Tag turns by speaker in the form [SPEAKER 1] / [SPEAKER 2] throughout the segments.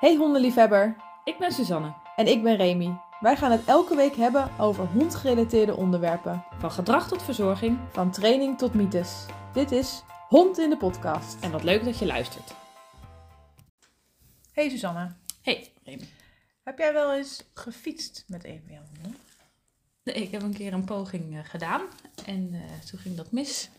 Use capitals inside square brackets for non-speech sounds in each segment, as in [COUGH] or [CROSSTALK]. [SPEAKER 1] Hey hondenliefhebber
[SPEAKER 2] Ik ben Suzanne,
[SPEAKER 1] en ik ben Remy. Wij gaan het elke week hebben over hondgerelateerde onderwerpen,
[SPEAKER 2] van gedrag tot verzorging
[SPEAKER 1] van training tot mythes. Dit is Hond in de podcast.
[SPEAKER 2] en wat leuk dat je luistert.
[SPEAKER 3] Hey Susanne,
[SPEAKER 2] Hey, Remy.
[SPEAKER 3] heb jij wel eens gefietst met een van jouw honden?
[SPEAKER 2] Nee, Ik heb een keer een poging eh, gedaan en eh, toen ging dat mis.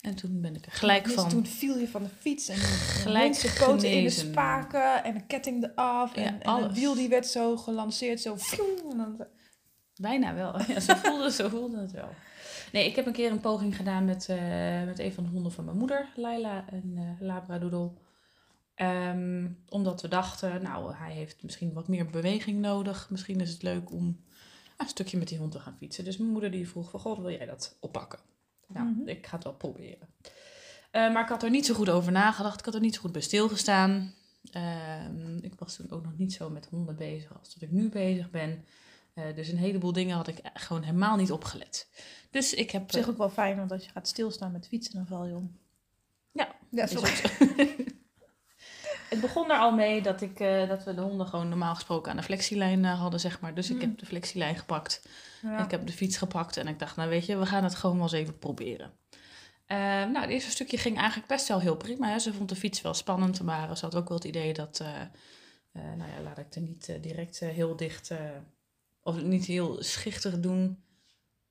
[SPEAKER 2] En toen ben ik er gelijk
[SPEAKER 3] Dus
[SPEAKER 2] van.
[SPEAKER 3] toen viel je van de fiets en
[SPEAKER 2] Gelijk
[SPEAKER 3] gelijk zijn poten in de
[SPEAKER 2] genezen.
[SPEAKER 3] spaken en de ketting eraf en,
[SPEAKER 2] Ja,
[SPEAKER 3] en
[SPEAKER 2] alles.
[SPEAKER 3] het wiel die werd zo gelanceerd, zo fjoem, en dan-
[SPEAKER 2] Bijna wel. [LAUGHS] Ja, zo, voelde, zo voelde het wel. Nee, ik heb een keer een poging gedaan met, eh, met een van de honden van mijn moeder, Laila, een eh labradoodle. Ehm, omdat we dachten, nou, hij heeft misschien wat meer beweging nodig. Misschien is het leuk om een stukje met die hond te gaan fietsen. Dus mijn moeder die vroeg van, god, wil jij dat oppakken? Nou,
[SPEAKER 3] Mhm.
[SPEAKER 2] ik ga het wel proberen. Eh, maar ik had er niet zo goed over nagedacht. Ik had er niet zo goed bij stilgestaan. Ehm, ik was toen ook nog niet zo met honden bezig als dat ik nu bezig ben. Eh, dus een heleboel dingen had ik gewoon helemaal niet opgelet. Dus ik heb...
[SPEAKER 3] Op zich ook wel fijn, want als je gaat stilstaan met fietsen, dan val je om.
[SPEAKER 2] Ja,
[SPEAKER 3] ja
[SPEAKER 2] Is
[SPEAKER 3] sorry.
[SPEAKER 2] dus ook zo. [LAUGHS] het begon er al mee dat, ik, eh, dat we de honden gewoon normaal gesproken aan de flexielijn eh, hadden, zeg maar. Dus ik
[SPEAKER 3] Mm.
[SPEAKER 2] heb de flexielijn gepakt.
[SPEAKER 3] Ja.
[SPEAKER 2] Ik heb de fiets gepakt en ik dacht, nou weet je, we gaan het gewoon wel eens even proberen. Eh, nou, het eerste stukje ging eigenlijk best wel heel prima. Hè. Ze vond de fiets wel spannend, maar ze had ook wel het idee dat, eh, eh, nou ja, laat ik er niet eh, direct eh, heel dicht, eh, of niet heel schichtig doen.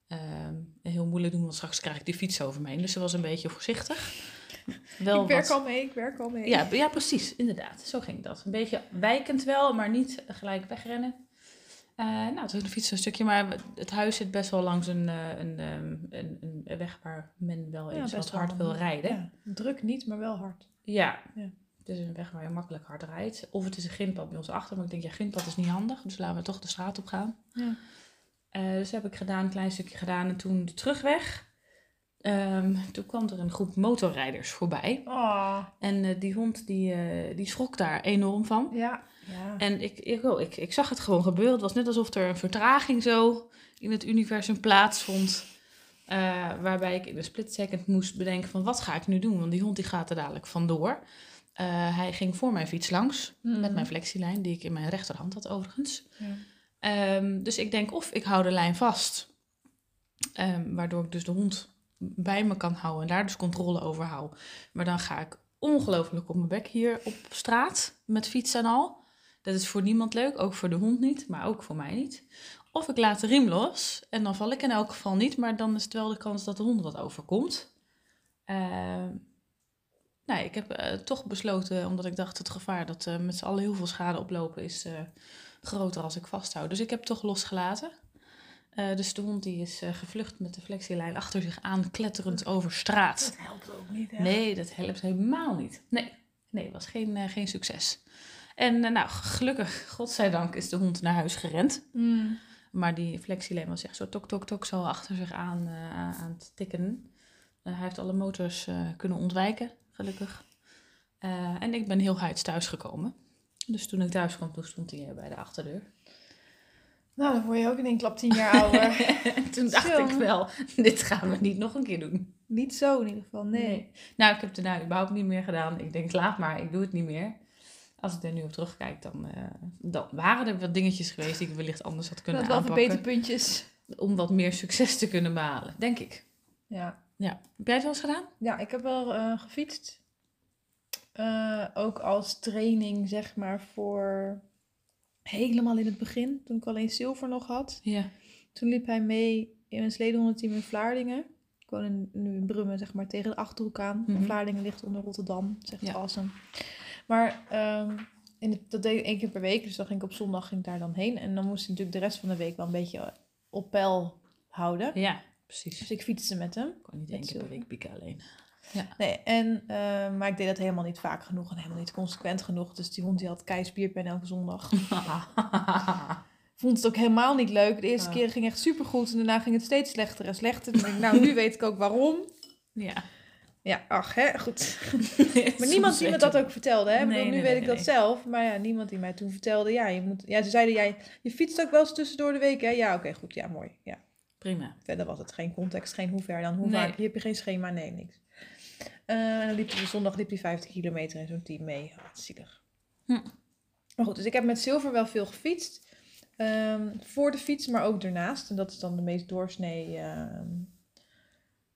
[SPEAKER 2] Ehm, en heel moeilijk doen, want straks krijg ik die fiets over me heen. Dus ze was een beetje voorzichtig. Wel
[SPEAKER 3] Ik werk
[SPEAKER 2] wat-
[SPEAKER 3] al mee, ik werk al mee.
[SPEAKER 2] ja, b- ja, precies, inderdaad. Zo ging dat. Een beetje wijkend wel, maar niet gelijk wegrennen. Eh, nou, toen fietsen we een stukje, maar we- het huis zit best wel langs een, eh, een, ehm, een, een weg waar men wel
[SPEAKER 3] Ja,
[SPEAKER 2] eens wat
[SPEAKER 3] best wel.
[SPEAKER 2] hard wil rijden. Ja.
[SPEAKER 3] Ja, druk niet, maar wel hard. Ja.
[SPEAKER 2] het is een weg waar je makkelijk hard rijdt. Of het is een grindpad bij ons achter, maar ik denk, ja, grindpad is niet handig, dus laten we toch de straat op gaan.
[SPEAKER 3] Ja.
[SPEAKER 2] Eh, dus heb ik gedaan, een klein stukje gedaan en toen de terugweg. Ehm, toen kwam er een groep motorrijders voorbij.
[SPEAKER 3] Oh,
[SPEAKER 2] En eh, die hond die, eh, die schrok daar enorm van.
[SPEAKER 3] ja. ja.
[SPEAKER 2] En ik, ik, oh, ik, ik zag het gewoon gebeuren. Het was net alsof er een vertraging zo in het universum plaatsvond. eh, waarbij ik in een split second moest bedenken van wat ga ik nu doen? Want die hond die gaat er dadelijk vandoor. Eh, hij ging voor mijn fiets langs.
[SPEAKER 3] Mhm.
[SPEAKER 2] Met mijn flexielijn, die ik in mijn rechterhand had overigens.
[SPEAKER 3] Ja.
[SPEAKER 2] Ehm, dus ik denk of ik hou de lijn vast. ehm, waardoor ik dus de hond bij me kan houden en daar dus controle over hou. Maar dan ga ik ongelooflijk op mijn bek hier op straat met fiets en al. Dat is voor niemand leuk, ook voor de hond niet, maar ook voor mij niet. Of ik laat de riem los en dan val ik in elk geval niet, maar dan is het wel de kans dat de hond wat overkomt. Ehm nou, ik heb eh, toch besloten, omdat ik dacht het gevaar dat eh, met z'n allen heel veel schade oplopen is eh, groter als ik vasthoud. Dus ik heb toch losgelaten. Eh, dus de hond die is eh, gevlucht met de flexielijn achter zich aan, kletterend over straat.
[SPEAKER 3] Dat helpt ook niet, hè?
[SPEAKER 2] Nee, dat helpt helemaal niet. Nee, nee het was geen, eh, geen succes. En eh, nou, gelukkig, godzijdank, is de hond naar huis gerend.
[SPEAKER 3] Mm.
[SPEAKER 2] Maar die flexielijn was echt zo tok, tok, tok, zo achter zich aan, eh, aan het tikken. Eh, hij heeft alle motors eh, kunnen ontwijken, gelukkig. Eh, en ik ben heel huids thuis gekomen. Dus toen ik thuis kwam, toen stond hij eh, bij de achterdeur. [LAUGHS]
[SPEAKER 3] Nou, dan word je ook in één klap tien jaar ouder.
[SPEAKER 2] En toen dacht
[SPEAKER 3] Zo.
[SPEAKER 2] ik wel, [LAUGHS] dit gaan we niet nog een keer doen.
[SPEAKER 3] niet zo in ieder geval, nee.
[SPEAKER 2] Nou, ik heb het daarna überhaupt niet meer gedaan. Ik denk, laat maar, ik doe het niet meer. Als ik er nu op terugkijk, dan, eh, dan waren er wat dingetjes geweest die ik wellicht anders had kunnen
[SPEAKER 3] Dat wel
[SPEAKER 2] aanpakken.
[SPEAKER 3] verbeterpuntjes.
[SPEAKER 2] Om wat meer succes te kunnen behalen, denk ik.
[SPEAKER 3] Ja.
[SPEAKER 2] Ja. Heb jij het wel eens gedaan?
[SPEAKER 3] Ja, ik heb wel eh, gefietst. Eh, ook als training, zeg maar, voor helemaal in het begin, toen ik alleen zilver nog had.
[SPEAKER 2] Ja.
[SPEAKER 3] Toen liep hij mee in een sledenhondenteam in Vlaardingen. Ik woon in, nu in Brummen, zeg maar, tegen de Achterhoek aan. En
[SPEAKER 2] Mhm.
[SPEAKER 3] Vlaardingen ligt onder Rotterdam, zegt
[SPEAKER 2] Ja.
[SPEAKER 3] ja. Maar ehm, in het, dat deed ik één keer per week, dus dan ging ik op zondag ging ik daar dan heen. En dan moest ik natuurlijk de rest van de week wel een beetje op peil houden.
[SPEAKER 2] Ja, precies.
[SPEAKER 3] Dus ik fietste met hem.
[SPEAKER 2] Ik kon niet
[SPEAKER 3] Met
[SPEAKER 2] één keer per
[SPEAKER 3] zilver.
[SPEAKER 2] week pieken
[SPEAKER 3] [LAUGHS]
[SPEAKER 2] alleen.
[SPEAKER 3] Nee, en, eh, maar ik deed dat helemaal niet vaak genoeg en helemaal niet consequent genoeg. Dus die hond die had keispierpijn elke
[SPEAKER 2] [LAUGHS]
[SPEAKER 3] zondag. Vond het ook helemaal niet leuk. De eerste
[SPEAKER 2] Ah.
[SPEAKER 3] keer ging echt supergoed en daarna ging het steeds slechter en slechter. Toen dacht ik,
[SPEAKER 2] [LAUGHS]
[SPEAKER 3] nou, nu weet ik ook waarom.
[SPEAKER 2] ja.
[SPEAKER 3] Ja, ach hè,
[SPEAKER 2] [LAUGHS]
[SPEAKER 3] goed. [LAUGHS] Maar niemand die me dat ook vertelde, hè. Ik
[SPEAKER 2] Nee,
[SPEAKER 3] bedoel, nu
[SPEAKER 2] nee,
[SPEAKER 3] weet
[SPEAKER 2] nee,
[SPEAKER 3] ik
[SPEAKER 2] nee.
[SPEAKER 3] dat zelf. Maar ja, niemand die mij toen vertelde, ja, je moet... Ja, ze zeiden, jij, je fietst ook wel eens tussendoor de week, hè? Ja, oké, goed, ja, mooi, ja.
[SPEAKER 2] Prima.
[SPEAKER 3] Verder was het geen context, geen hoe ver dan, hoe
[SPEAKER 2] Nee.
[SPEAKER 3] vaak. Hier heb je geen schema, nee, niks. Eh, en dan liep hij, zondag liep hij 50 kilometer in zo'n team mee. Ah, wat zielig.
[SPEAKER 2] Hm.
[SPEAKER 3] Maar goed, dus ik heb met zilver wel veel gefietst. Ehm, voor de fiets, maar ook daarnaast. En dat is dan de meest doorsnee ehm,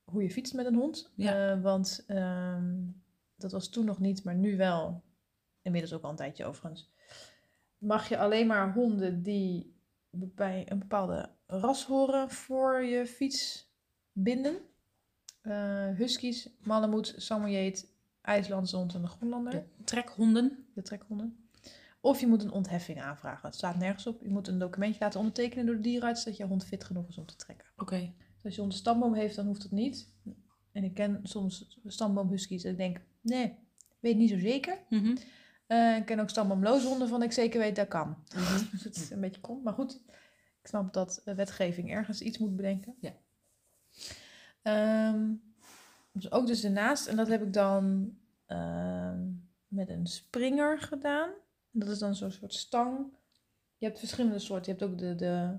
[SPEAKER 3] hoe je fietst met een hond.
[SPEAKER 2] Ja.
[SPEAKER 3] Eh, want ehm, dat was toen nog niet, maar nu wel. Inmiddels ook al een tijdje overigens. Mag je alleen maar honden die bij een bepaalde ras horen voor je fiets binden. Eh, huskies, Malamute, Samoyeed, IJslandse hond en de Groenlander
[SPEAKER 2] De trekhonden.
[SPEAKER 3] de trekhonden. Of je moet een ontheffing aanvragen. Het staat nergens op. Je moet een documentje laten ondertekenen door de dierenarts dat je hond fit genoeg is om te trekken.
[SPEAKER 2] Oké.
[SPEAKER 3] Dus als je hond een stamboom heeft, dan hoeft dat niet. En ik ken soms stamboomhuskies en ik denk, nee, weet niet zo zeker.
[SPEAKER 2] Mhm.
[SPEAKER 3] Eh, ik ken ook stamboomloze honden van ik zeker weet dat kan. [LAUGHS] Dus het is een beetje kom. Maar goed, ik snap dat eh, wetgeving ergens iets moet bedenken.
[SPEAKER 2] Ja.
[SPEAKER 3] Ehm, dus ook dus daarnaast, en dat heb ik dan ehm, met een springer gedaan. Dat is dan zo'n soort stang. Je hebt verschillende soorten. Je hebt ook de, de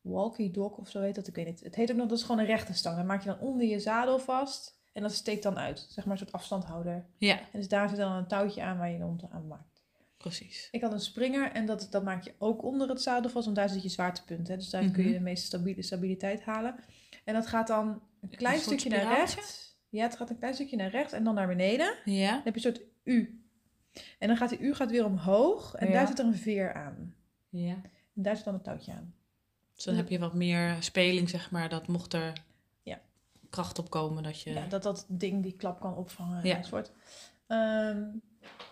[SPEAKER 3] walkie dog of zo heet dat. Ik weet niet. Het heet ook nog, dat is gewoon een rechte stang. Dat maak je dan onder je zadel vast. En dat steekt dan uit. Zeg maar een soort afstandhouder.
[SPEAKER 2] Ja,
[SPEAKER 3] En dus daar zit dan een touwtje aan waar je de hond aan maakt.
[SPEAKER 2] precies.
[SPEAKER 3] Ik had een springer en dat, dat maak je ook onder het zadel vast, want daar zit je zwaartepunt. Hè? Dus daar kun je
[SPEAKER 2] Mhm.
[SPEAKER 3] de meeste stabiele stabiliteit halen. En dat gaat dan een klein
[SPEAKER 2] soort
[SPEAKER 3] stukje naar
[SPEAKER 2] spiraaltje?
[SPEAKER 3] rechts. Ja, het gaat een klein stukje naar rechts en dan naar beneden.
[SPEAKER 2] Ja.
[SPEAKER 3] Dan heb je een soort U. En dan gaat die U gaat weer omhoog en
[SPEAKER 2] Ja.
[SPEAKER 3] daar zit er een veer aan.
[SPEAKER 2] ja.
[SPEAKER 3] En daar zit dan een touwtje aan.
[SPEAKER 2] Dus dan heb je wat meer speling, zeg maar, dat mocht er
[SPEAKER 3] Ja.
[SPEAKER 2] kracht op komen dat je...
[SPEAKER 3] Ja, dat dat ding die klap kan opvangen
[SPEAKER 2] Ja.
[SPEAKER 3] enzovoort. Ehm,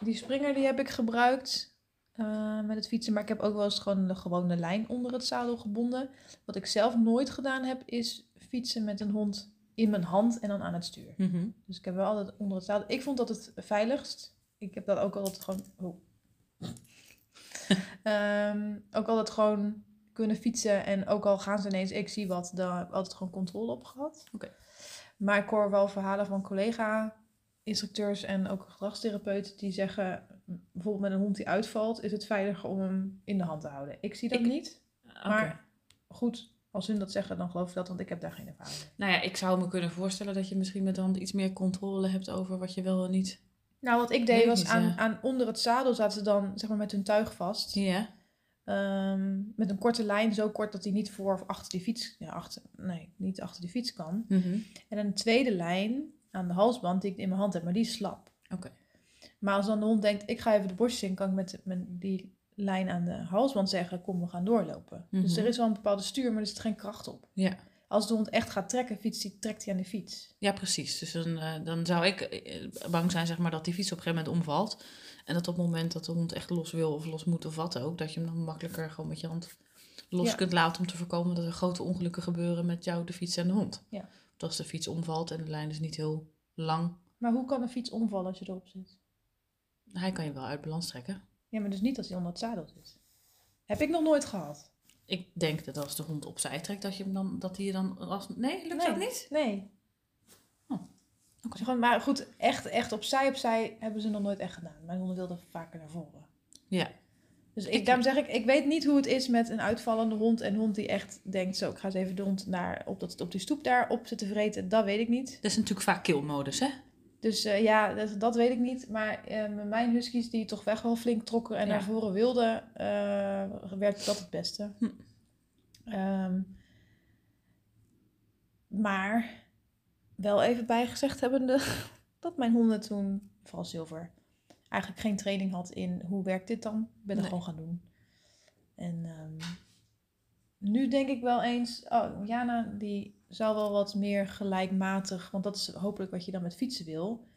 [SPEAKER 3] die springer die heb ik gebruikt eh, met het fietsen. Maar ik heb ook wel eens gewoon de gewone lijn onder het zadel gebonden. Wat ik zelf nooit gedaan heb, is fietsen met een hond in mijn hand en dan aan het stuur.
[SPEAKER 2] Mhm.
[SPEAKER 3] Dus ik heb wel altijd onder het zadel. Ik vond dat het veiligst. Ik heb dat ook altijd gewoon... Oh.
[SPEAKER 2] [LAUGHS]
[SPEAKER 3] Ehm, ook altijd gewoon kunnen fietsen. En ook al gaan ze ineens, ik zie wat, daar heb ik altijd gewoon controle op gehad.
[SPEAKER 2] Oké.
[SPEAKER 3] Maar ik hoor wel verhalen van collega-instructeurs en ook gedragstherapeuten die zeggen... m, Bijvoorbeeld met een hond die uitvalt, is het veiliger om hem in de hand te houden. Ik zie dat
[SPEAKER 2] Ik-
[SPEAKER 3] niet.
[SPEAKER 2] Eh, Oké.
[SPEAKER 3] Maar- Goed, als hun dat zeggen, dan geloof ik dat, want ik heb daar geen ervaring mee.
[SPEAKER 2] Nou ja, ik zou me kunnen voorstellen dat je misschien met dan iets meer controle hebt over wat je wel en niet...
[SPEAKER 3] Nou, wat ik
[SPEAKER 2] Weet
[SPEAKER 3] deed
[SPEAKER 2] ik
[SPEAKER 3] was
[SPEAKER 2] niet,
[SPEAKER 3] aan,
[SPEAKER 2] ja.
[SPEAKER 3] aan onder het zadel zaten ze dan zeg maar met hun tuig vast.
[SPEAKER 2] Ja.
[SPEAKER 3] Ehm, met een korte lijn, zo kort dat hij niet voor of achter die fiets, ja, achter, nee, niet achter die fiets kan.
[SPEAKER 2] Mhm.
[SPEAKER 3] En een tweede lijn aan de halsband die ik in mijn hand heb, maar die is slap.
[SPEAKER 2] Oké.
[SPEAKER 3] Maar als dan de hond denkt, ik ga even de borstjes in, kan ik met, met die lijn aan de halsband zeggen, kom, we gaan doorlopen. Dus
[SPEAKER 2] Mhm.
[SPEAKER 3] er is wel een bepaalde stuur, maar er zit geen kracht op.
[SPEAKER 2] Ja.
[SPEAKER 3] Als de hond echt gaat trekken, fietst die, trekt hij aan de fiets.
[SPEAKER 2] Ja, precies. Dus dan, eh, dan zou ik eh, bang zijn zeg maar, dat die fiets op een gegeven moment omvalt. En dat op het moment dat de hond echt los wil of los moet of wat ook, dat je hem dan makkelijker gewoon met je hand los
[SPEAKER 3] Ja.
[SPEAKER 2] kunt laten om te voorkomen dat er grote ongelukken gebeuren met jou, de fiets en de hond.
[SPEAKER 3] Ja.
[SPEAKER 2] Want als de fiets omvalt en de lijn is niet heel lang,
[SPEAKER 3] Maar hoe kan een fiets omvallen als je erop zit?
[SPEAKER 2] hij kan je wel uit balans trekken.
[SPEAKER 3] Ja, maar dus niet als hij onder het zadel zit. Heb ik nog nooit gehad.
[SPEAKER 2] Ik denk dat als de hond opzij trekt, dat je hem dan, dat hij je dan als... Nee, lukt dat niet?
[SPEAKER 3] Nee.
[SPEAKER 2] Oh, oké.
[SPEAKER 3] Dus gewoon, maar goed, echt, echt opzij, opzij hebben ze nog nooit echt gedaan. Mijn honden wilden vaker naar voren.
[SPEAKER 2] Ja.
[SPEAKER 3] Dus
[SPEAKER 2] Ik-
[SPEAKER 3] ik, daarom zeg ik, ik weet niet hoe het is met een uitvallende hond. En een hond die echt denkt, zo, ik ga eens even de hond naar, op, dat, op die stoep daar op zitten vreten. Dat weet ik niet.
[SPEAKER 2] Dat is natuurlijk vaak killmodus, hè?
[SPEAKER 3] Dus eh, ja, dat, dat weet ik niet. Maar eh, met mijn huskies die toch weg wel flink trokken en
[SPEAKER 2] Ja.
[SPEAKER 3] naar voren wilden, eh werkte dat het beste.
[SPEAKER 2] Hm.
[SPEAKER 3] Ehm, maar wel even bijgezegd hebbende [LAUGHS] dat mijn honden toen, vooral zilver, eigenlijk geen training had in hoe werkt dit dan. Ik ben dat
[SPEAKER 2] Nee.
[SPEAKER 3] gewoon gaan doen. En ehm, nu denk ik wel eens, oh, Jana die zou wel wat meer gelijkmatig, want dat is hopelijk wat je dan met fietsen wil.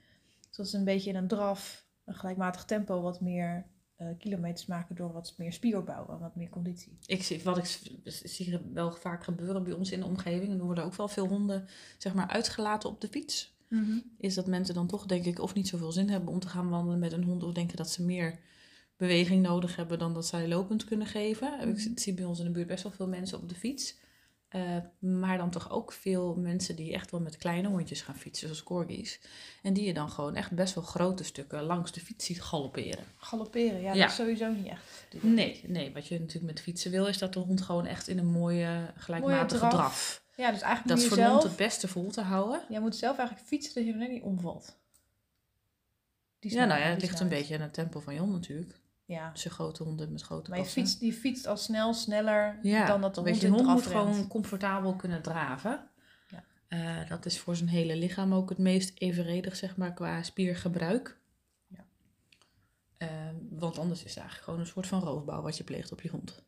[SPEAKER 3] Dus dat is een beetje in een draf, een gelijkmatig tempo, wat meer eh, kilometers maken door wat meer spieropbouw en wat meer conditie.
[SPEAKER 2] Ik zie, wat ik s- zie wel vaak gebeuren bij ons in de omgeving, en er worden ook wel veel honden zeg maar, uitgelaten op de fiets, is dat mensen dan toch denk ik of niet zoveel zin hebben om te gaan wandelen met een hond, of denken dat ze meer beweging nodig hebben dan dat zij lopend kunnen geven. Ik
[SPEAKER 3] Mhm.
[SPEAKER 2] z- zie bij ons in de buurt best wel veel mensen op de fiets, eh, maar dan toch ook veel mensen die echt wel met kleine hondjes gaan fietsen, zoals corgis, en die je dan gewoon echt best wel grote stukken langs de fiets ziet galopperen.
[SPEAKER 3] Galopperen, ja,
[SPEAKER 2] Ja.
[SPEAKER 3] dat is sowieso niet echt.
[SPEAKER 2] Nee, nee, wat je natuurlijk met fietsen wil, is dat de hond gewoon echt in een mooie, gelijkmatige
[SPEAKER 3] draf.
[SPEAKER 2] draf
[SPEAKER 3] Ja, dus eigenlijk
[SPEAKER 2] Dat is
[SPEAKER 3] moet je
[SPEAKER 2] voor de hond het
[SPEAKER 3] zelf,
[SPEAKER 2] beste vol te houden.
[SPEAKER 3] jij moet zelf eigenlijk fietsen dat je er net niet omvalt. Die
[SPEAKER 2] Ja, nou ja,
[SPEAKER 3] snelheid,
[SPEAKER 2] nou het
[SPEAKER 3] die
[SPEAKER 2] ligt een
[SPEAKER 3] snelheid.
[SPEAKER 2] beetje aan het tempo van Jon natuurlijk.
[SPEAKER 3] Ja.
[SPEAKER 2] Dus grote honden met grote
[SPEAKER 3] Maar je
[SPEAKER 2] kassen.
[SPEAKER 3] fietst, die fietst al snel sneller
[SPEAKER 2] Ja,
[SPEAKER 3] dan dat de
[SPEAKER 2] Weet
[SPEAKER 3] hond
[SPEAKER 2] je,
[SPEAKER 3] in
[SPEAKER 2] een
[SPEAKER 3] het
[SPEAKER 2] hond moet
[SPEAKER 3] draf rent.
[SPEAKER 2] gewoon comfortabel kunnen draven.
[SPEAKER 3] Ja.
[SPEAKER 2] Eh, dat is voor zijn hele lichaam ook het meest evenredig, zeg maar, qua spiergebruik.
[SPEAKER 3] Ja.
[SPEAKER 2] Eh, want anders is het eigenlijk gewoon een soort van roofbouw wat je pleegt op je hond.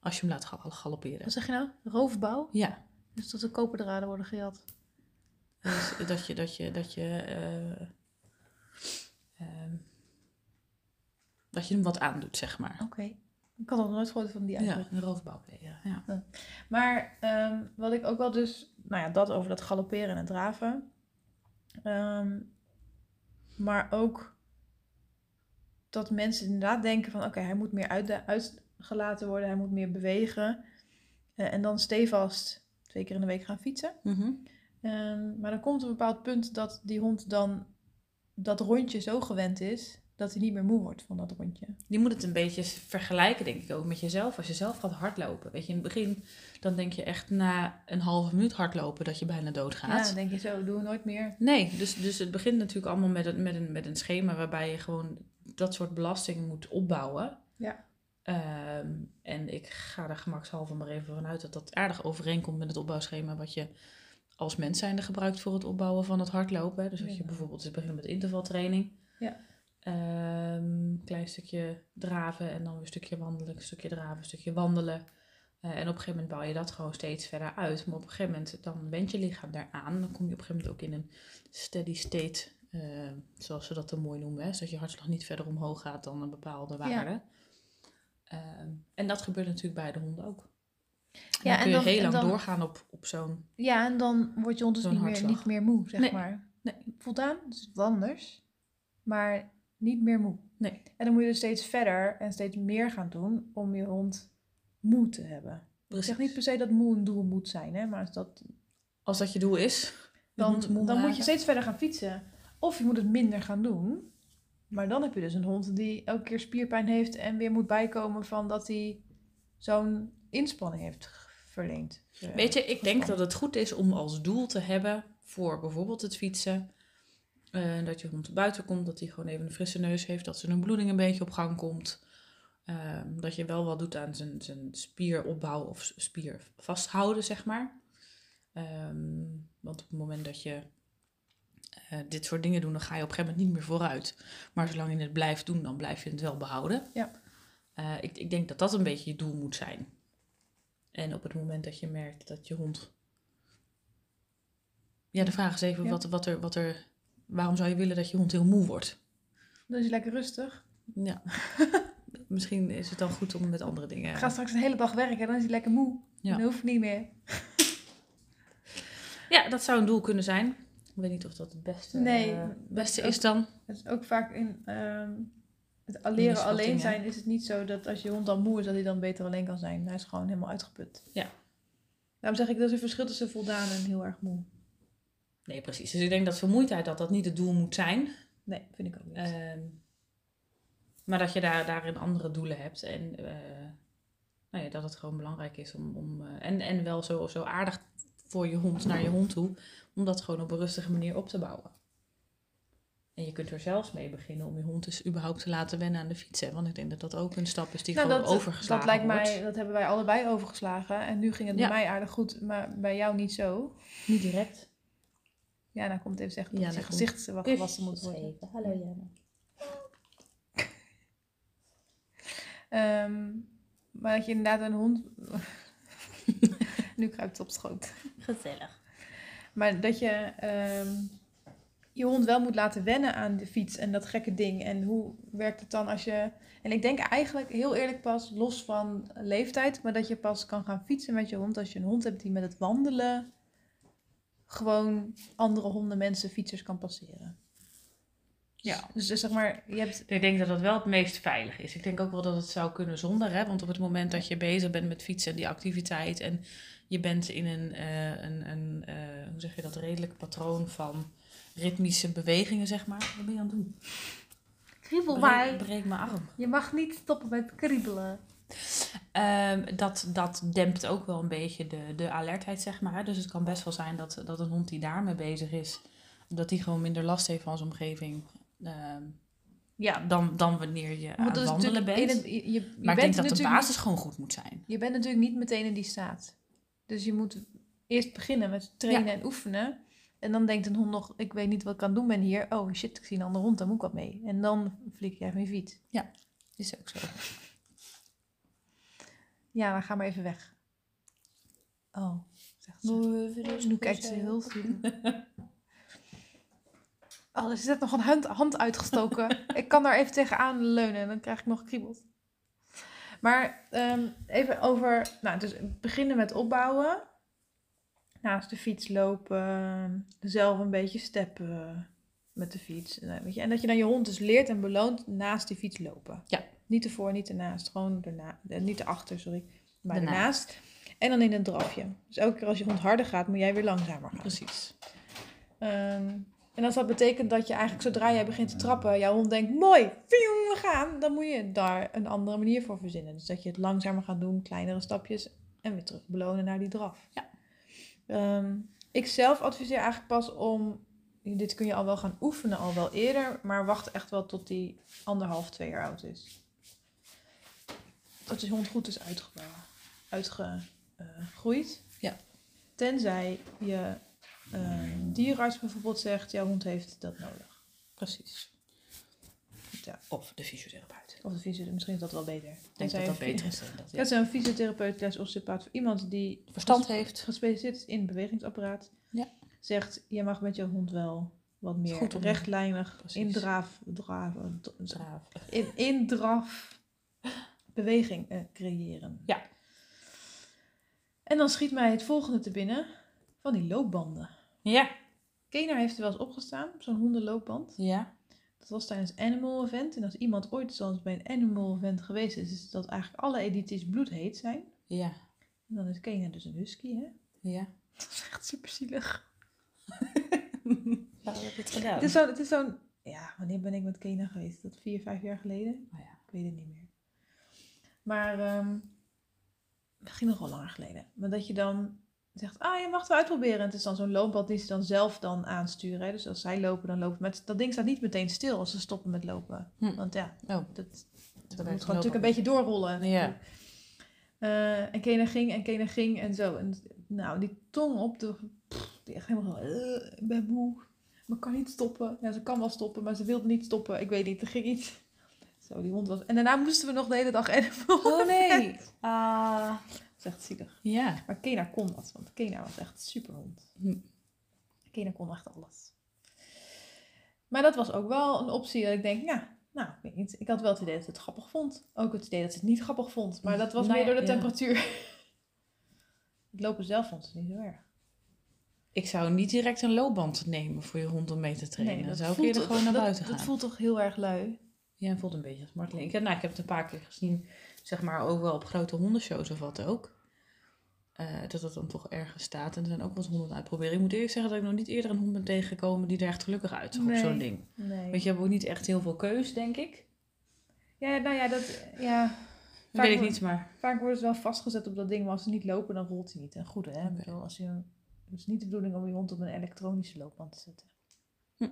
[SPEAKER 2] Als je hem laat gal- galopperen.
[SPEAKER 3] Wat zeg je nou? Roofbouw?
[SPEAKER 2] Ja,
[SPEAKER 3] Dus dat de koperdraden worden gejat.
[SPEAKER 2] dus dat je, dat je, dat je, eh, ehm, dat je hem wat aandoet, zeg maar.
[SPEAKER 3] Oké. Ik had nog nooit gehoord van die eigenlijk.
[SPEAKER 2] Ja, een roofbouw plegen. Ja.
[SPEAKER 3] Maar ehm, wat ik ook wel dus... Nou ja, dat over dat galopperen en het draven. Ehm, maar ook dat mensen inderdaad denken van... Oké, hij moet meer uitda- uitgelaten worden. Hij moet meer bewegen. Eh, en dan stevast twee keer in de week gaan fietsen.
[SPEAKER 2] Mhm.
[SPEAKER 3] Ehm, maar dan komt een bepaald punt dat die hond dan dat rondje zo gewend is... dat hij niet meer moe wordt van dat rondje.
[SPEAKER 2] Je moet het een beetje vergelijken, denk ik ook, met jezelf. Als je zelf gaat hardlopen. Weet je, in het begin, dan denk je echt na een halve minuut hardlopen dat je bijna
[SPEAKER 3] Ja,
[SPEAKER 2] doodgaat.
[SPEAKER 3] dan denk je zo, doe nooit meer.
[SPEAKER 2] nee, dus, dus het begint natuurlijk allemaal met een, met, een, met een schema waarbij je gewoon dat soort belasting moet opbouwen.
[SPEAKER 3] Ja.
[SPEAKER 2] Ehm, en ik ga er gemakshalve maar even vanuit dat dat aardig overeenkomt met het opbouwschema wat je als mens zijnde gebruikt voor het opbouwen van het hardlopen. hè. Dus dat je
[SPEAKER 3] Ja.
[SPEAKER 2] bijvoorbeeld het begint met intervaltraining.
[SPEAKER 3] Ja.
[SPEAKER 2] Ehm, klein stukje draven en dan weer een stukje wandelen, een stukje draven, een stukje wandelen. Eh, en op een gegeven moment bouw je dat gewoon steeds verder uit. Maar op een gegeven moment dan went je lichaam daaraan. Dan kom je op een gegeven moment ook in een steady state, eh, zoals ze dat dan mooi noemen. Hè? Zodat je hartslag niet verder omhoog gaat dan een bepaalde waarde. Ehm, en dat gebeurt natuurlijk bij de honden ook.
[SPEAKER 3] Ja,
[SPEAKER 2] ja, dan
[SPEAKER 3] en
[SPEAKER 2] kun je
[SPEAKER 3] dan-
[SPEAKER 2] heel
[SPEAKER 3] en
[SPEAKER 2] lang
[SPEAKER 3] dan-
[SPEAKER 2] doorgaan op, op zo'n...
[SPEAKER 3] Ja, en dan wordt je hond dus
[SPEAKER 2] Zo'n
[SPEAKER 3] niet meer,
[SPEAKER 2] hartslag.
[SPEAKER 3] niet meer moe, zeg
[SPEAKER 2] Nee.
[SPEAKER 3] maar.
[SPEAKER 2] Nee.
[SPEAKER 3] Voldaan, dat is wel anders. Maar niet meer moe.
[SPEAKER 2] Nee.
[SPEAKER 3] En dan moet je dus steeds verder en steeds meer gaan doen om je hond moe te hebben. Ik zeg niet per se dat moe een doel moet zijn, hè, maar als dat,
[SPEAKER 2] Als dat je doel is,
[SPEAKER 3] dan, dan moet je
[SPEAKER 2] maken.
[SPEAKER 3] steeds verder gaan fietsen. Of je moet het minder gaan doen. Maar dan heb je dus een hond die elke keer spierpijn heeft en weer moet bijkomen van dat hij zo'n inspanning heeft g- verleend.
[SPEAKER 2] Weet je, ik denk
[SPEAKER 3] Verstand.
[SPEAKER 2] dat het goed is om als doel te hebben voor bijvoorbeeld het fietsen. eh, dat je hond buiten komt, dat hij gewoon even een frisse neus heeft, dat zijn bloeding een beetje op gang komt. Ehm, dat je wel wat doet aan zijn, zijn spieropbouw of s- spier vasthouden, zeg maar. Ehm, want op het moment dat je eh, dit soort dingen doet, dan ga je op een gegeven moment niet meer vooruit. Maar zolang je het blijft doen, dan blijf je het wel behouden.
[SPEAKER 3] Ja.
[SPEAKER 2] Eh, ik, ik denk dat dat een beetje je doel moet zijn. En op het moment dat je merkt dat je hond. Ja, de vraag is even
[SPEAKER 3] Ja.
[SPEAKER 2] wat, wat, er, wat er. Waarom zou je willen dat je hond heel moe wordt?
[SPEAKER 3] Dan is hij lekker rustig.
[SPEAKER 2] Ja. Misschien is het dan goed om met andere dingen.
[SPEAKER 3] Ik ga straks een hele dag werken en dan is hij lekker moe.
[SPEAKER 2] Ja.
[SPEAKER 3] Dan hoeft hij niet meer.
[SPEAKER 2] Ja, dat zou een doel kunnen zijn. Ik weet niet of dat het beste,
[SPEAKER 3] Nee,
[SPEAKER 2] eh, beste
[SPEAKER 3] dat-
[SPEAKER 2] is dan.
[SPEAKER 3] Het is ook vaak in ehm, het al-
[SPEAKER 2] Misvatting,
[SPEAKER 3] leren alleen
[SPEAKER 2] hè?
[SPEAKER 3] zijn is het niet zo dat als je hond dan moe is, dat hij dan beter alleen kan zijn. Hij is gewoon helemaal uitgeput.
[SPEAKER 2] Ja.
[SPEAKER 3] Daarom zeg ik, dat is een verschil tussen voldaan en heel erg moe.
[SPEAKER 2] Nee, precies. Dus ik denk dat vermoeidheid dat dat niet het doel moet zijn.
[SPEAKER 3] Nee, vind ik ook niet.
[SPEAKER 2] Ehm, maar dat je daar, daarin andere doelen hebt. En eh, nou ja, dat het gewoon belangrijk is om. om eh, en, en wel zo, zo aardig voor je hond naar je hond toe. Om dat gewoon op een rustige manier op te bouwen. En je kunt er zelfs mee beginnen om je hond dus überhaupt te laten wennen aan de fietsen. Want ik denk dat dat ook een stap is die
[SPEAKER 3] nou,
[SPEAKER 2] gewoon
[SPEAKER 3] dat,
[SPEAKER 2] overgeslagen
[SPEAKER 3] dat lijkt
[SPEAKER 2] wordt.
[SPEAKER 3] mij, dat hebben wij allebei overgeslagen. En nu ging het
[SPEAKER 2] Ja.
[SPEAKER 3] bij mij aardig goed, maar bij jou niet zo.
[SPEAKER 2] Niet direct.
[SPEAKER 3] Ja, nou komt even zeggen dat
[SPEAKER 2] Ja,
[SPEAKER 3] zijn
[SPEAKER 2] nou
[SPEAKER 3] gezicht wat gewassen moet worden.
[SPEAKER 2] Hallo Jana.
[SPEAKER 3] Ehm, maar dat je inderdaad een hond. [LAUGHS] nu kruipt het op schoot.
[SPEAKER 2] Gezellig.
[SPEAKER 3] Maar dat je ehm, je hond wel moet laten wennen aan de fiets en dat gekke ding. En hoe werkt het dan als je. En ik denk eigenlijk heel eerlijk pas los van leeftijd, maar dat je pas kan gaan fietsen met je hond als je een hond hebt die met het wandelen gewoon andere honden, mensen, fietsers kan passeren.
[SPEAKER 2] Ja.
[SPEAKER 3] Dus, dus zeg maar, je hebt.
[SPEAKER 2] Ik denk dat dat wel het meest veilig is. Ik denk ook wel dat het zou kunnen zonder. Hè? Want op het moment dat je bezig bent met fietsen en die activiteit. En je bent in een, eh, een, een eh, hoe zeg je dat, redelijk patroon van ritmische bewegingen, zeg maar. Wat ben je aan het doen? Breek, breek mijn arm.
[SPEAKER 3] Je mag niet stoppen met kriebelen.
[SPEAKER 2] Ehm, dat, dat dempt ook wel een beetje de, de alertheid, zeg maar. hè. Dus het kan best wel zijn dat, dat een hond die daarmee bezig is, dat die gewoon minder last heeft van zijn omgeving. Ehm,
[SPEAKER 3] Ja.
[SPEAKER 2] dan, dan wanneer je aan
[SPEAKER 3] Want
[SPEAKER 2] het
[SPEAKER 3] dat is
[SPEAKER 2] wandelen
[SPEAKER 3] dus natuurlijk
[SPEAKER 2] bent.
[SPEAKER 3] in het- je, je- je
[SPEAKER 2] maar
[SPEAKER 3] bent
[SPEAKER 2] ik denk dat de
[SPEAKER 3] natuurlijk
[SPEAKER 2] basis gewoon goed moet zijn.
[SPEAKER 3] je bent natuurlijk niet meteen in die staat. Dus je moet eerst beginnen met trainen en oefenen. En dan denkt een hond nog, ik weet niet wat ik aan het doen ben hier. Oh shit, ik zie een andere hond, daar moet ik wat mee. En dan flik jij van je fiets.
[SPEAKER 2] Ja.
[SPEAKER 3] is ook zo. Ja, maar ga maar even weg. Oh, zegt ze. Nu kijkt ze heel slim. Oh, er zit nog een hand, hand uitgestoken. ik kan daar even tegenaan leunen en dan krijg ik nog kriebels. Maar ehm, even over... Nou, dus beginnen met opbouwen. Naast de fiets lopen. Zelf een beetje steppen eh, met de fiets. Nou, weet je, En dat je dan je hond dus leert en beloont naast die fiets lopen.
[SPEAKER 2] Ja.
[SPEAKER 3] Niet ervoor, niet ernaast. Gewoon erna, eh, niet erachter, sorry. Maar
[SPEAKER 2] Ernaast.
[SPEAKER 3] ernaast. En dan in een drafje. Dus elke keer als je hond harder gaat, moet jij weer langzamer gaan.
[SPEAKER 2] Precies.
[SPEAKER 3] Ehm, en als dat betekent dat je eigenlijk zodra jij begint te trappen, jouw hond denkt, mooi, pioen, we gaan, dan moet je daar een andere manier voor verzinnen. Dus dat je het langzamer gaat doen, kleinere stapjes en weer terug belonen naar die draf.
[SPEAKER 2] Ja.
[SPEAKER 3] Ehm, ik zelf adviseer eigenlijk pas om, dit kun je al wel gaan oefenen, al wel eerder, maar wacht echt wel tot die anderhalf, twee jaar oud is. Dat je hond goed is uitgebouwd, uitgegroeid.
[SPEAKER 2] Ja.
[SPEAKER 3] Tenzij je een dierenarts bijvoorbeeld zegt, jouw hond heeft dat nodig.
[SPEAKER 2] Precies.
[SPEAKER 3] Ja.
[SPEAKER 2] Of de fysiotherapeut.
[SPEAKER 3] Of de fysiotherapeut, misschien is dat wel beter.
[SPEAKER 2] Ik denk dat dat beter is. dan dat, ja.
[SPEAKER 3] Dat zijn een fysiotherapeut, les osteopaat, of iemand die
[SPEAKER 2] Verstand
[SPEAKER 3] ges-
[SPEAKER 2] heeft.
[SPEAKER 3] gespecialiseerd is in bewegingsapparaat,
[SPEAKER 2] Ja.
[SPEAKER 3] zegt, je mag met jouw hond wel wat meer
[SPEAKER 2] Goed om-
[SPEAKER 3] rechtlijnig,
[SPEAKER 2] Precies.
[SPEAKER 3] indraaf, draven, d-
[SPEAKER 2] Braaf.
[SPEAKER 3] in, indraf beweging eh, creëren.
[SPEAKER 2] Ja.
[SPEAKER 3] En dan schiet mij het volgende te binnen, van die loopbanden.
[SPEAKER 2] Ja.
[SPEAKER 3] Kenar heeft er wel eens opgestaan, zo'n hondenloopband.
[SPEAKER 2] Ja.
[SPEAKER 3] Dat was tijdens Animal Event. En als iemand ooit zelfs bij een Animal Event geweest is, is dat eigenlijk alle edities bloedheet zijn.
[SPEAKER 2] Ja.
[SPEAKER 3] En dan is Kena dus een husky,
[SPEAKER 2] [LAUGHS]
[SPEAKER 3] hè?
[SPEAKER 2] Ja.
[SPEAKER 3] Dat is echt super zielig.
[SPEAKER 2] Waarom heb je het gedaan?
[SPEAKER 3] Het is zo'n... het is zo'n- Ja, wanneer ben ik met Kena geweest? Is Dat vier, vijf jaar geleden?
[SPEAKER 2] Oh ja.
[SPEAKER 3] Ik weet het niet meer. Maar... ehm misschien nog wel langer geleden. Maar dat je dan zegt, ah, je mag het wel uitproberen. En het is dan zo'n loopband die ze dan zelf dan aansturen. Hè? Dus als zij lopen, dan lopen... Maar het- dat ding staat niet meteen stil als ze stoppen met lopen.
[SPEAKER 2] Hm.
[SPEAKER 3] Want ja,
[SPEAKER 2] Oh.
[SPEAKER 3] dat, dat
[SPEAKER 2] werkt
[SPEAKER 3] moet gewoon natuurlijk
[SPEAKER 2] lopen.
[SPEAKER 3] een beetje doorrollen.
[SPEAKER 2] Ja.
[SPEAKER 3] Eh, en Kena ging en Kena ging en zo. En, nou, die tong op de... pff, die echt helemaal zo... eh, ik ben moe. Maar kan niet stoppen. Ja, ze kan wel stoppen, maar ze wilde niet stoppen. Ik weet niet, er ging iets. Zo, die hond was... En daarna moesten we nog de hele dag [LAUGHS] edible.
[SPEAKER 2] Oh nee. [LAUGHS] Ah.
[SPEAKER 3] Dat is echt zielig.
[SPEAKER 2] ja.
[SPEAKER 3] Maar Kena kon dat, want Kena was echt superhond.
[SPEAKER 2] Hm.
[SPEAKER 3] Kena kon echt alles. Maar dat was ook wel een optie dat ik denk, ja, nou, ik weet niet. Ik had wel het idee dat ze het grappig vond. Ook het idee dat ze het niet grappig vond. Maar dat was
[SPEAKER 2] Nou
[SPEAKER 3] meer
[SPEAKER 2] ja,
[SPEAKER 3] door de
[SPEAKER 2] ja.
[SPEAKER 3] temperatuur. [LAUGHS] Het lopen zelf vond ze niet zo erg.
[SPEAKER 2] Ik zou niet direct een loopband nemen voor je hond om mee te trainen. Dan zou ik
[SPEAKER 3] voelt
[SPEAKER 2] eerder
[SPEAKER 3] toch-
[SPEAKER 2] gewoon naar
[SPEAKER 3] dat-
[SPEAKER 2] buiten gaan.
[SPEAKER 3] Dat voelt toch heel erg lui.
[SPEAKER 2] Ja, het voelt een beetje als marteling. Ik heb, nou, ik heb het een paar keer gezien, zeg maar, ook wel op grote hondenshows of wat ook. Eh, dat het dan toch ergens staat. En er zijn ook wat honden aan het proberen. Ik moet eerlijk zeggen dat ik nog niet eerder een hond ben tegengekomen die er echt gelukkig uitzag
[SPEAKER 3] Nee.
[SPEAKER 2] op zo'n ding.
[SPEAKER 3] Nee.
[SPEAKER 2] Weet je, je hebt ook niet echt heel veel keus, denk ik.
[SPEAKER 3] Ja, nou ja, dat, ja,
[SPEAKER 2] Dat weet ik
[SPEAKER 3] hoor.
[SPEAKER 2] niet, maar...
[SPEAKER 3] vaak worden ze wel vastgezet op dat ding. Maar als ze niet lopen, dan rolt hij niet. En goed, hè. Ik
[SPEAKER 2] Oké.
[SPEAKER 3] bedoel, als je, het is niet de bedoeling om je hond op een elektronische loopband te zetten.
[SPEAKER 2] Hm.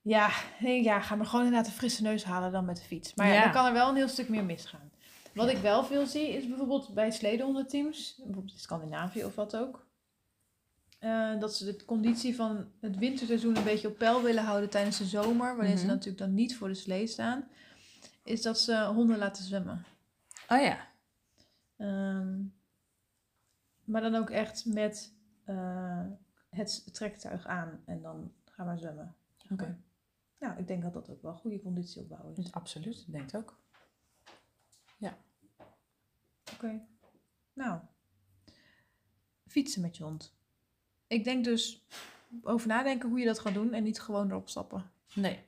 [SPEAKER 3] Ja, nee, ja, ga maar gewoon inderdaad een frisse neus halen dan met de fiets. Maar ja,
[SPEAKER 2] Ja.
[SPEAKER 3] dan kan er wel een heel stuk meer misgaan. Wat ik wel veel zie, is bijvoorbeeld bij sledeonderteams, bijvoorbeeld in Scandinavië of wat ook, eh, dat ze de conditie van het winterseizoen een beetje op peil willen houden tijdens de zomer, wanneer ze
[SPEAKER 2] Mhm.
[SPEAKER 3] natuurlijk dan niet voor de slee staan, is dat ze honden laten zwemmen.
[SPEAKER 2] Oh ja.
[SPEAKER 3] Ehm, maar dan ook echt met eh, het trektuig aan en dan ga maar zwemmen.
[SPEAKER 2] Oké.
[SPEAKER 3] Nou, ik denk dat dat ook wel goede conditie opbouwen is.
[SPEAKER 2] dus Absoluut, ik denk het ook.
[SPEAKER 3] Oké. Nou, fietsen met je hond. Ik denk dus over nadenken hoe je dat gaat doen en niet gewoon erop stappen.
[SPEAKER 2] Nee,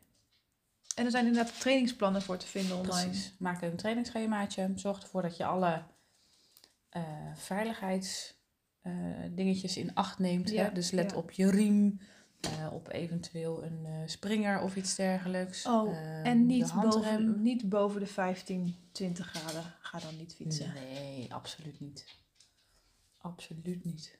[SPEAKER 3] En er zijn inderdaad trainingsplannen voor te vinden online.
[SPEAKER 2] precies. Maak een trainingsschemaatje. Zorg ervoor dat je alle eh veiligheidsdingetjes in acht neemt.
[SPEAKER 3] Ja,
[SPEAKER 2] hè? Dus let
[SPEAKER 3] ja.
[SPEAKER 2] op je riem, eh, op eventueel een eh, springer of iets dergelijks.
[SPEAKER 3] Oh,
[SPEAKER 2] Ehm,
[SPEAKER 3] En
[SPEAKER 2] de
[SPEAKER 3] niet
[SPEAKER 2] handrem.
[SPEAKER 3] boven, niet boven de 15, 20 graden. Ga dan niet fietsen.
[SPEAKER 2] Nee, absoluut niet. Absoluut niet.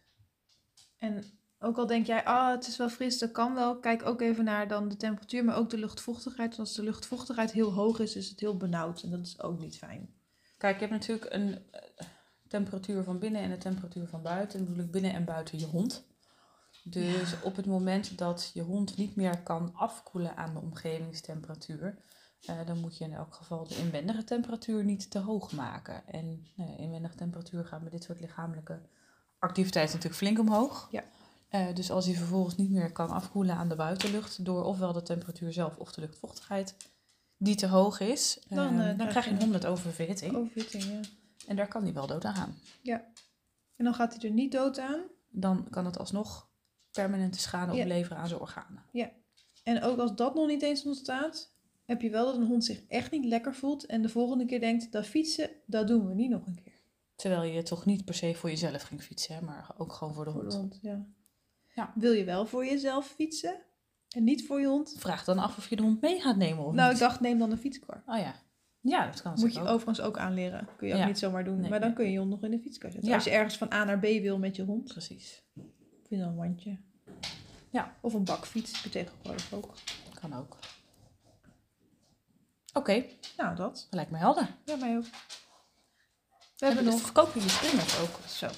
[SPEAKER 3] En Ook al denk jij, ah, het is wel fris, dat kan wel. Kijk ook even naar dan de temperatuur, maar ook de luchtvochtigheid. Want als de luchtvochtigheid heel hoog is, is het heel benauwd. En dat is ook niet fijn.
[SPEAKER 2] Kijk, je hebt natuurlijk een eh, temperatuur van binnen en een temperatuur van buiten. En bedoel ik binnen en buiten je hond. Dus op het moment dat je hond niet meer kan afkoelen aan de omgevingstemperatuur, eh, dan moet je in elk geval de inwendige temperatuur niet te hoog maken. En nou ja, inwendige temperatuur gaat met dit soort lichamelijke activiteiten natuurlijk flink omhoog.
[SPEAKER 3] Ja.
[SPEAKER 2] Eh, dus als hij vervolgens niet meer kan afkoelen aan de buitenlucht, door ofwel de temperatuur zelf of de luchtvochtigheid die te hoog is, eh,
[SPEAKER 3] Dan, eh,
[SPEAKER 2] dan krijg je een hond met oververhitting.
[SPEAKER 3] Overhitting, ja.
[SPEAKER 2] En daar kan hij wel dood aan gaan.
[SPEAKER 3] En dan gaat hij er niet dood aan.
[SPEAKER 2] Dan kan het alsnog permanente schade
[SPEAKER 3] Ja.
[SPEAKER 2] opleveren aan zijn organen.
[SPEAKER 3] En ook als dat nog niet eens ontstaat, heb je wel dat een hond zich echt niet lekker voelt. En de volgende keer denkt, dat fietsen, dat doen we niet nog een keer.
[SPEAKER 2] Terwijl je toch niet per se voor jezelf ging fietsen, hè, maar ook gewoon voor de
[SPEAKER 3] Voor de
[SPEAKER 2] hond.
[SPEAKER 3] hond, ja.
[SPEAKER 2] Ja.
[SPEAKER 3] Wil je wel voor jezelf fietsen en niet voor je hond?
[SPEAKER 2] Vraag dan af of je de hond mee gaat nemen of
[SPEAKER 3] Nou, ik
[SPEAKER 2] niet.
[SPEAKER 3] dacht, neem dan een fietskar.
[SPEAKER 2] Oh ja. Ja, dat kan
[SPEAKER 3] Moet je
[SPEAKER 2] natuurlijk ook.
[SPEAKER 3] overigens ook aanleren. Kun je ook
[SPEAKER 2] Ja.
[SPEAKER 3] niet zomaar doen.
[SPEAKER 2] Nee,
[SPEAKER 3] maar dan
[SPEAKER 2] nee.
[SPEAKER 3] kun je je hond nog in de fietskar zetten.
[SPEAKER 2] Ja.
[SPEAKER 3] Als je ergens van A naar B wil met je hond,
[SPEAKER 2] Precies.
[SPEAKER 3] vind je dan een wandje.
[SPEAKER 2] Ja.
[SPEAKER 3] Of een bakfiets, heb je tegenwoordig ook.
[SPEAKER 2] Kan ook. Oké,
[SPEAKER 3] Nou, dat.
[SPEAKER 2] lijkt me helder.
[SPEAKER 3] Ja, mij ook. We hebben
[SPEAKER 2] Hebben dus
[SPEAKER 3] nog...
[SPEAKER 2] verkopen jullie springers ook?
[SPEAKER 3] Zo,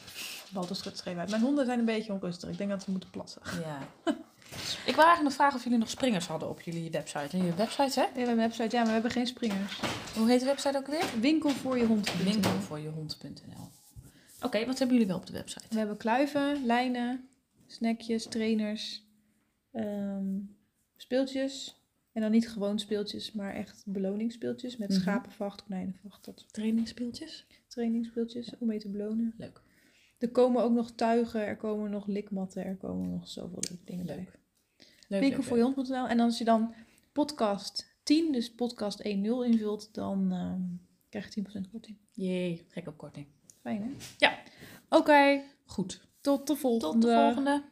[SPEAKER 3] Walter schudt schreef uit. Mijn honden zijn een beetje onrustig. Ik denk dat ze moeten plassen.
[SPEAKER 2] Ja. [LAUGHS] ik wil eigenlijk nog vragen of jullie nog springers hadden op jullie website. En jullie website, hè?
[SPEAKER 3] Ja, we hebben een website. Ja, maar we hebben geen springers.
[SPEAKER 2] Hoe heet de website ook weer?
[SPEAKER 3] Winkel voor je hond.
[SPEAKER 2] Winkelvoorjehond.nl Oké, wat hebben jullie wel op de website?
[SPEAKER 3] We hebben kluiven, lijnen, snackjes, trainers, ehm, speeltjes. En dan niet gewoon speeltjes, maar echt beloningsspeeltjes. Met
[SPEAKER 2] Mhm.
[SPEAKER 3] schapenvacht, konijnenvacht, dat soort
[SPEAKER 2] Trainingsspeeltjes?
[SPEAKER 3] trainingsspeeltjes om mee te belonen.
[SPEAKER 2] Leuk.
[SPEAKER 3] Er komen ook nog tuigen, er komen nog likmatten, er komen nog zoveel leuke dingen bij.
[SPEAKER 2] Leuk. Leuk, leuk, leuk.
[SPEAKER 3] Winkelvoorjehond.nl En dan als je dan podcast 10, dus podcast 10 invult, dan ehm, krijg je 10% korting.
[SPEAKER 2] Jee, gekke opkorting.
[SPEAKER 3] Fijn hè?
[SPEAKER 2] Ja.
[SPEAKER 3] Oké,
[SPEAKER 2] Goed.
[SPEAKER 3] tot de volgende.
[SPEAKER 2] Tot de volgende.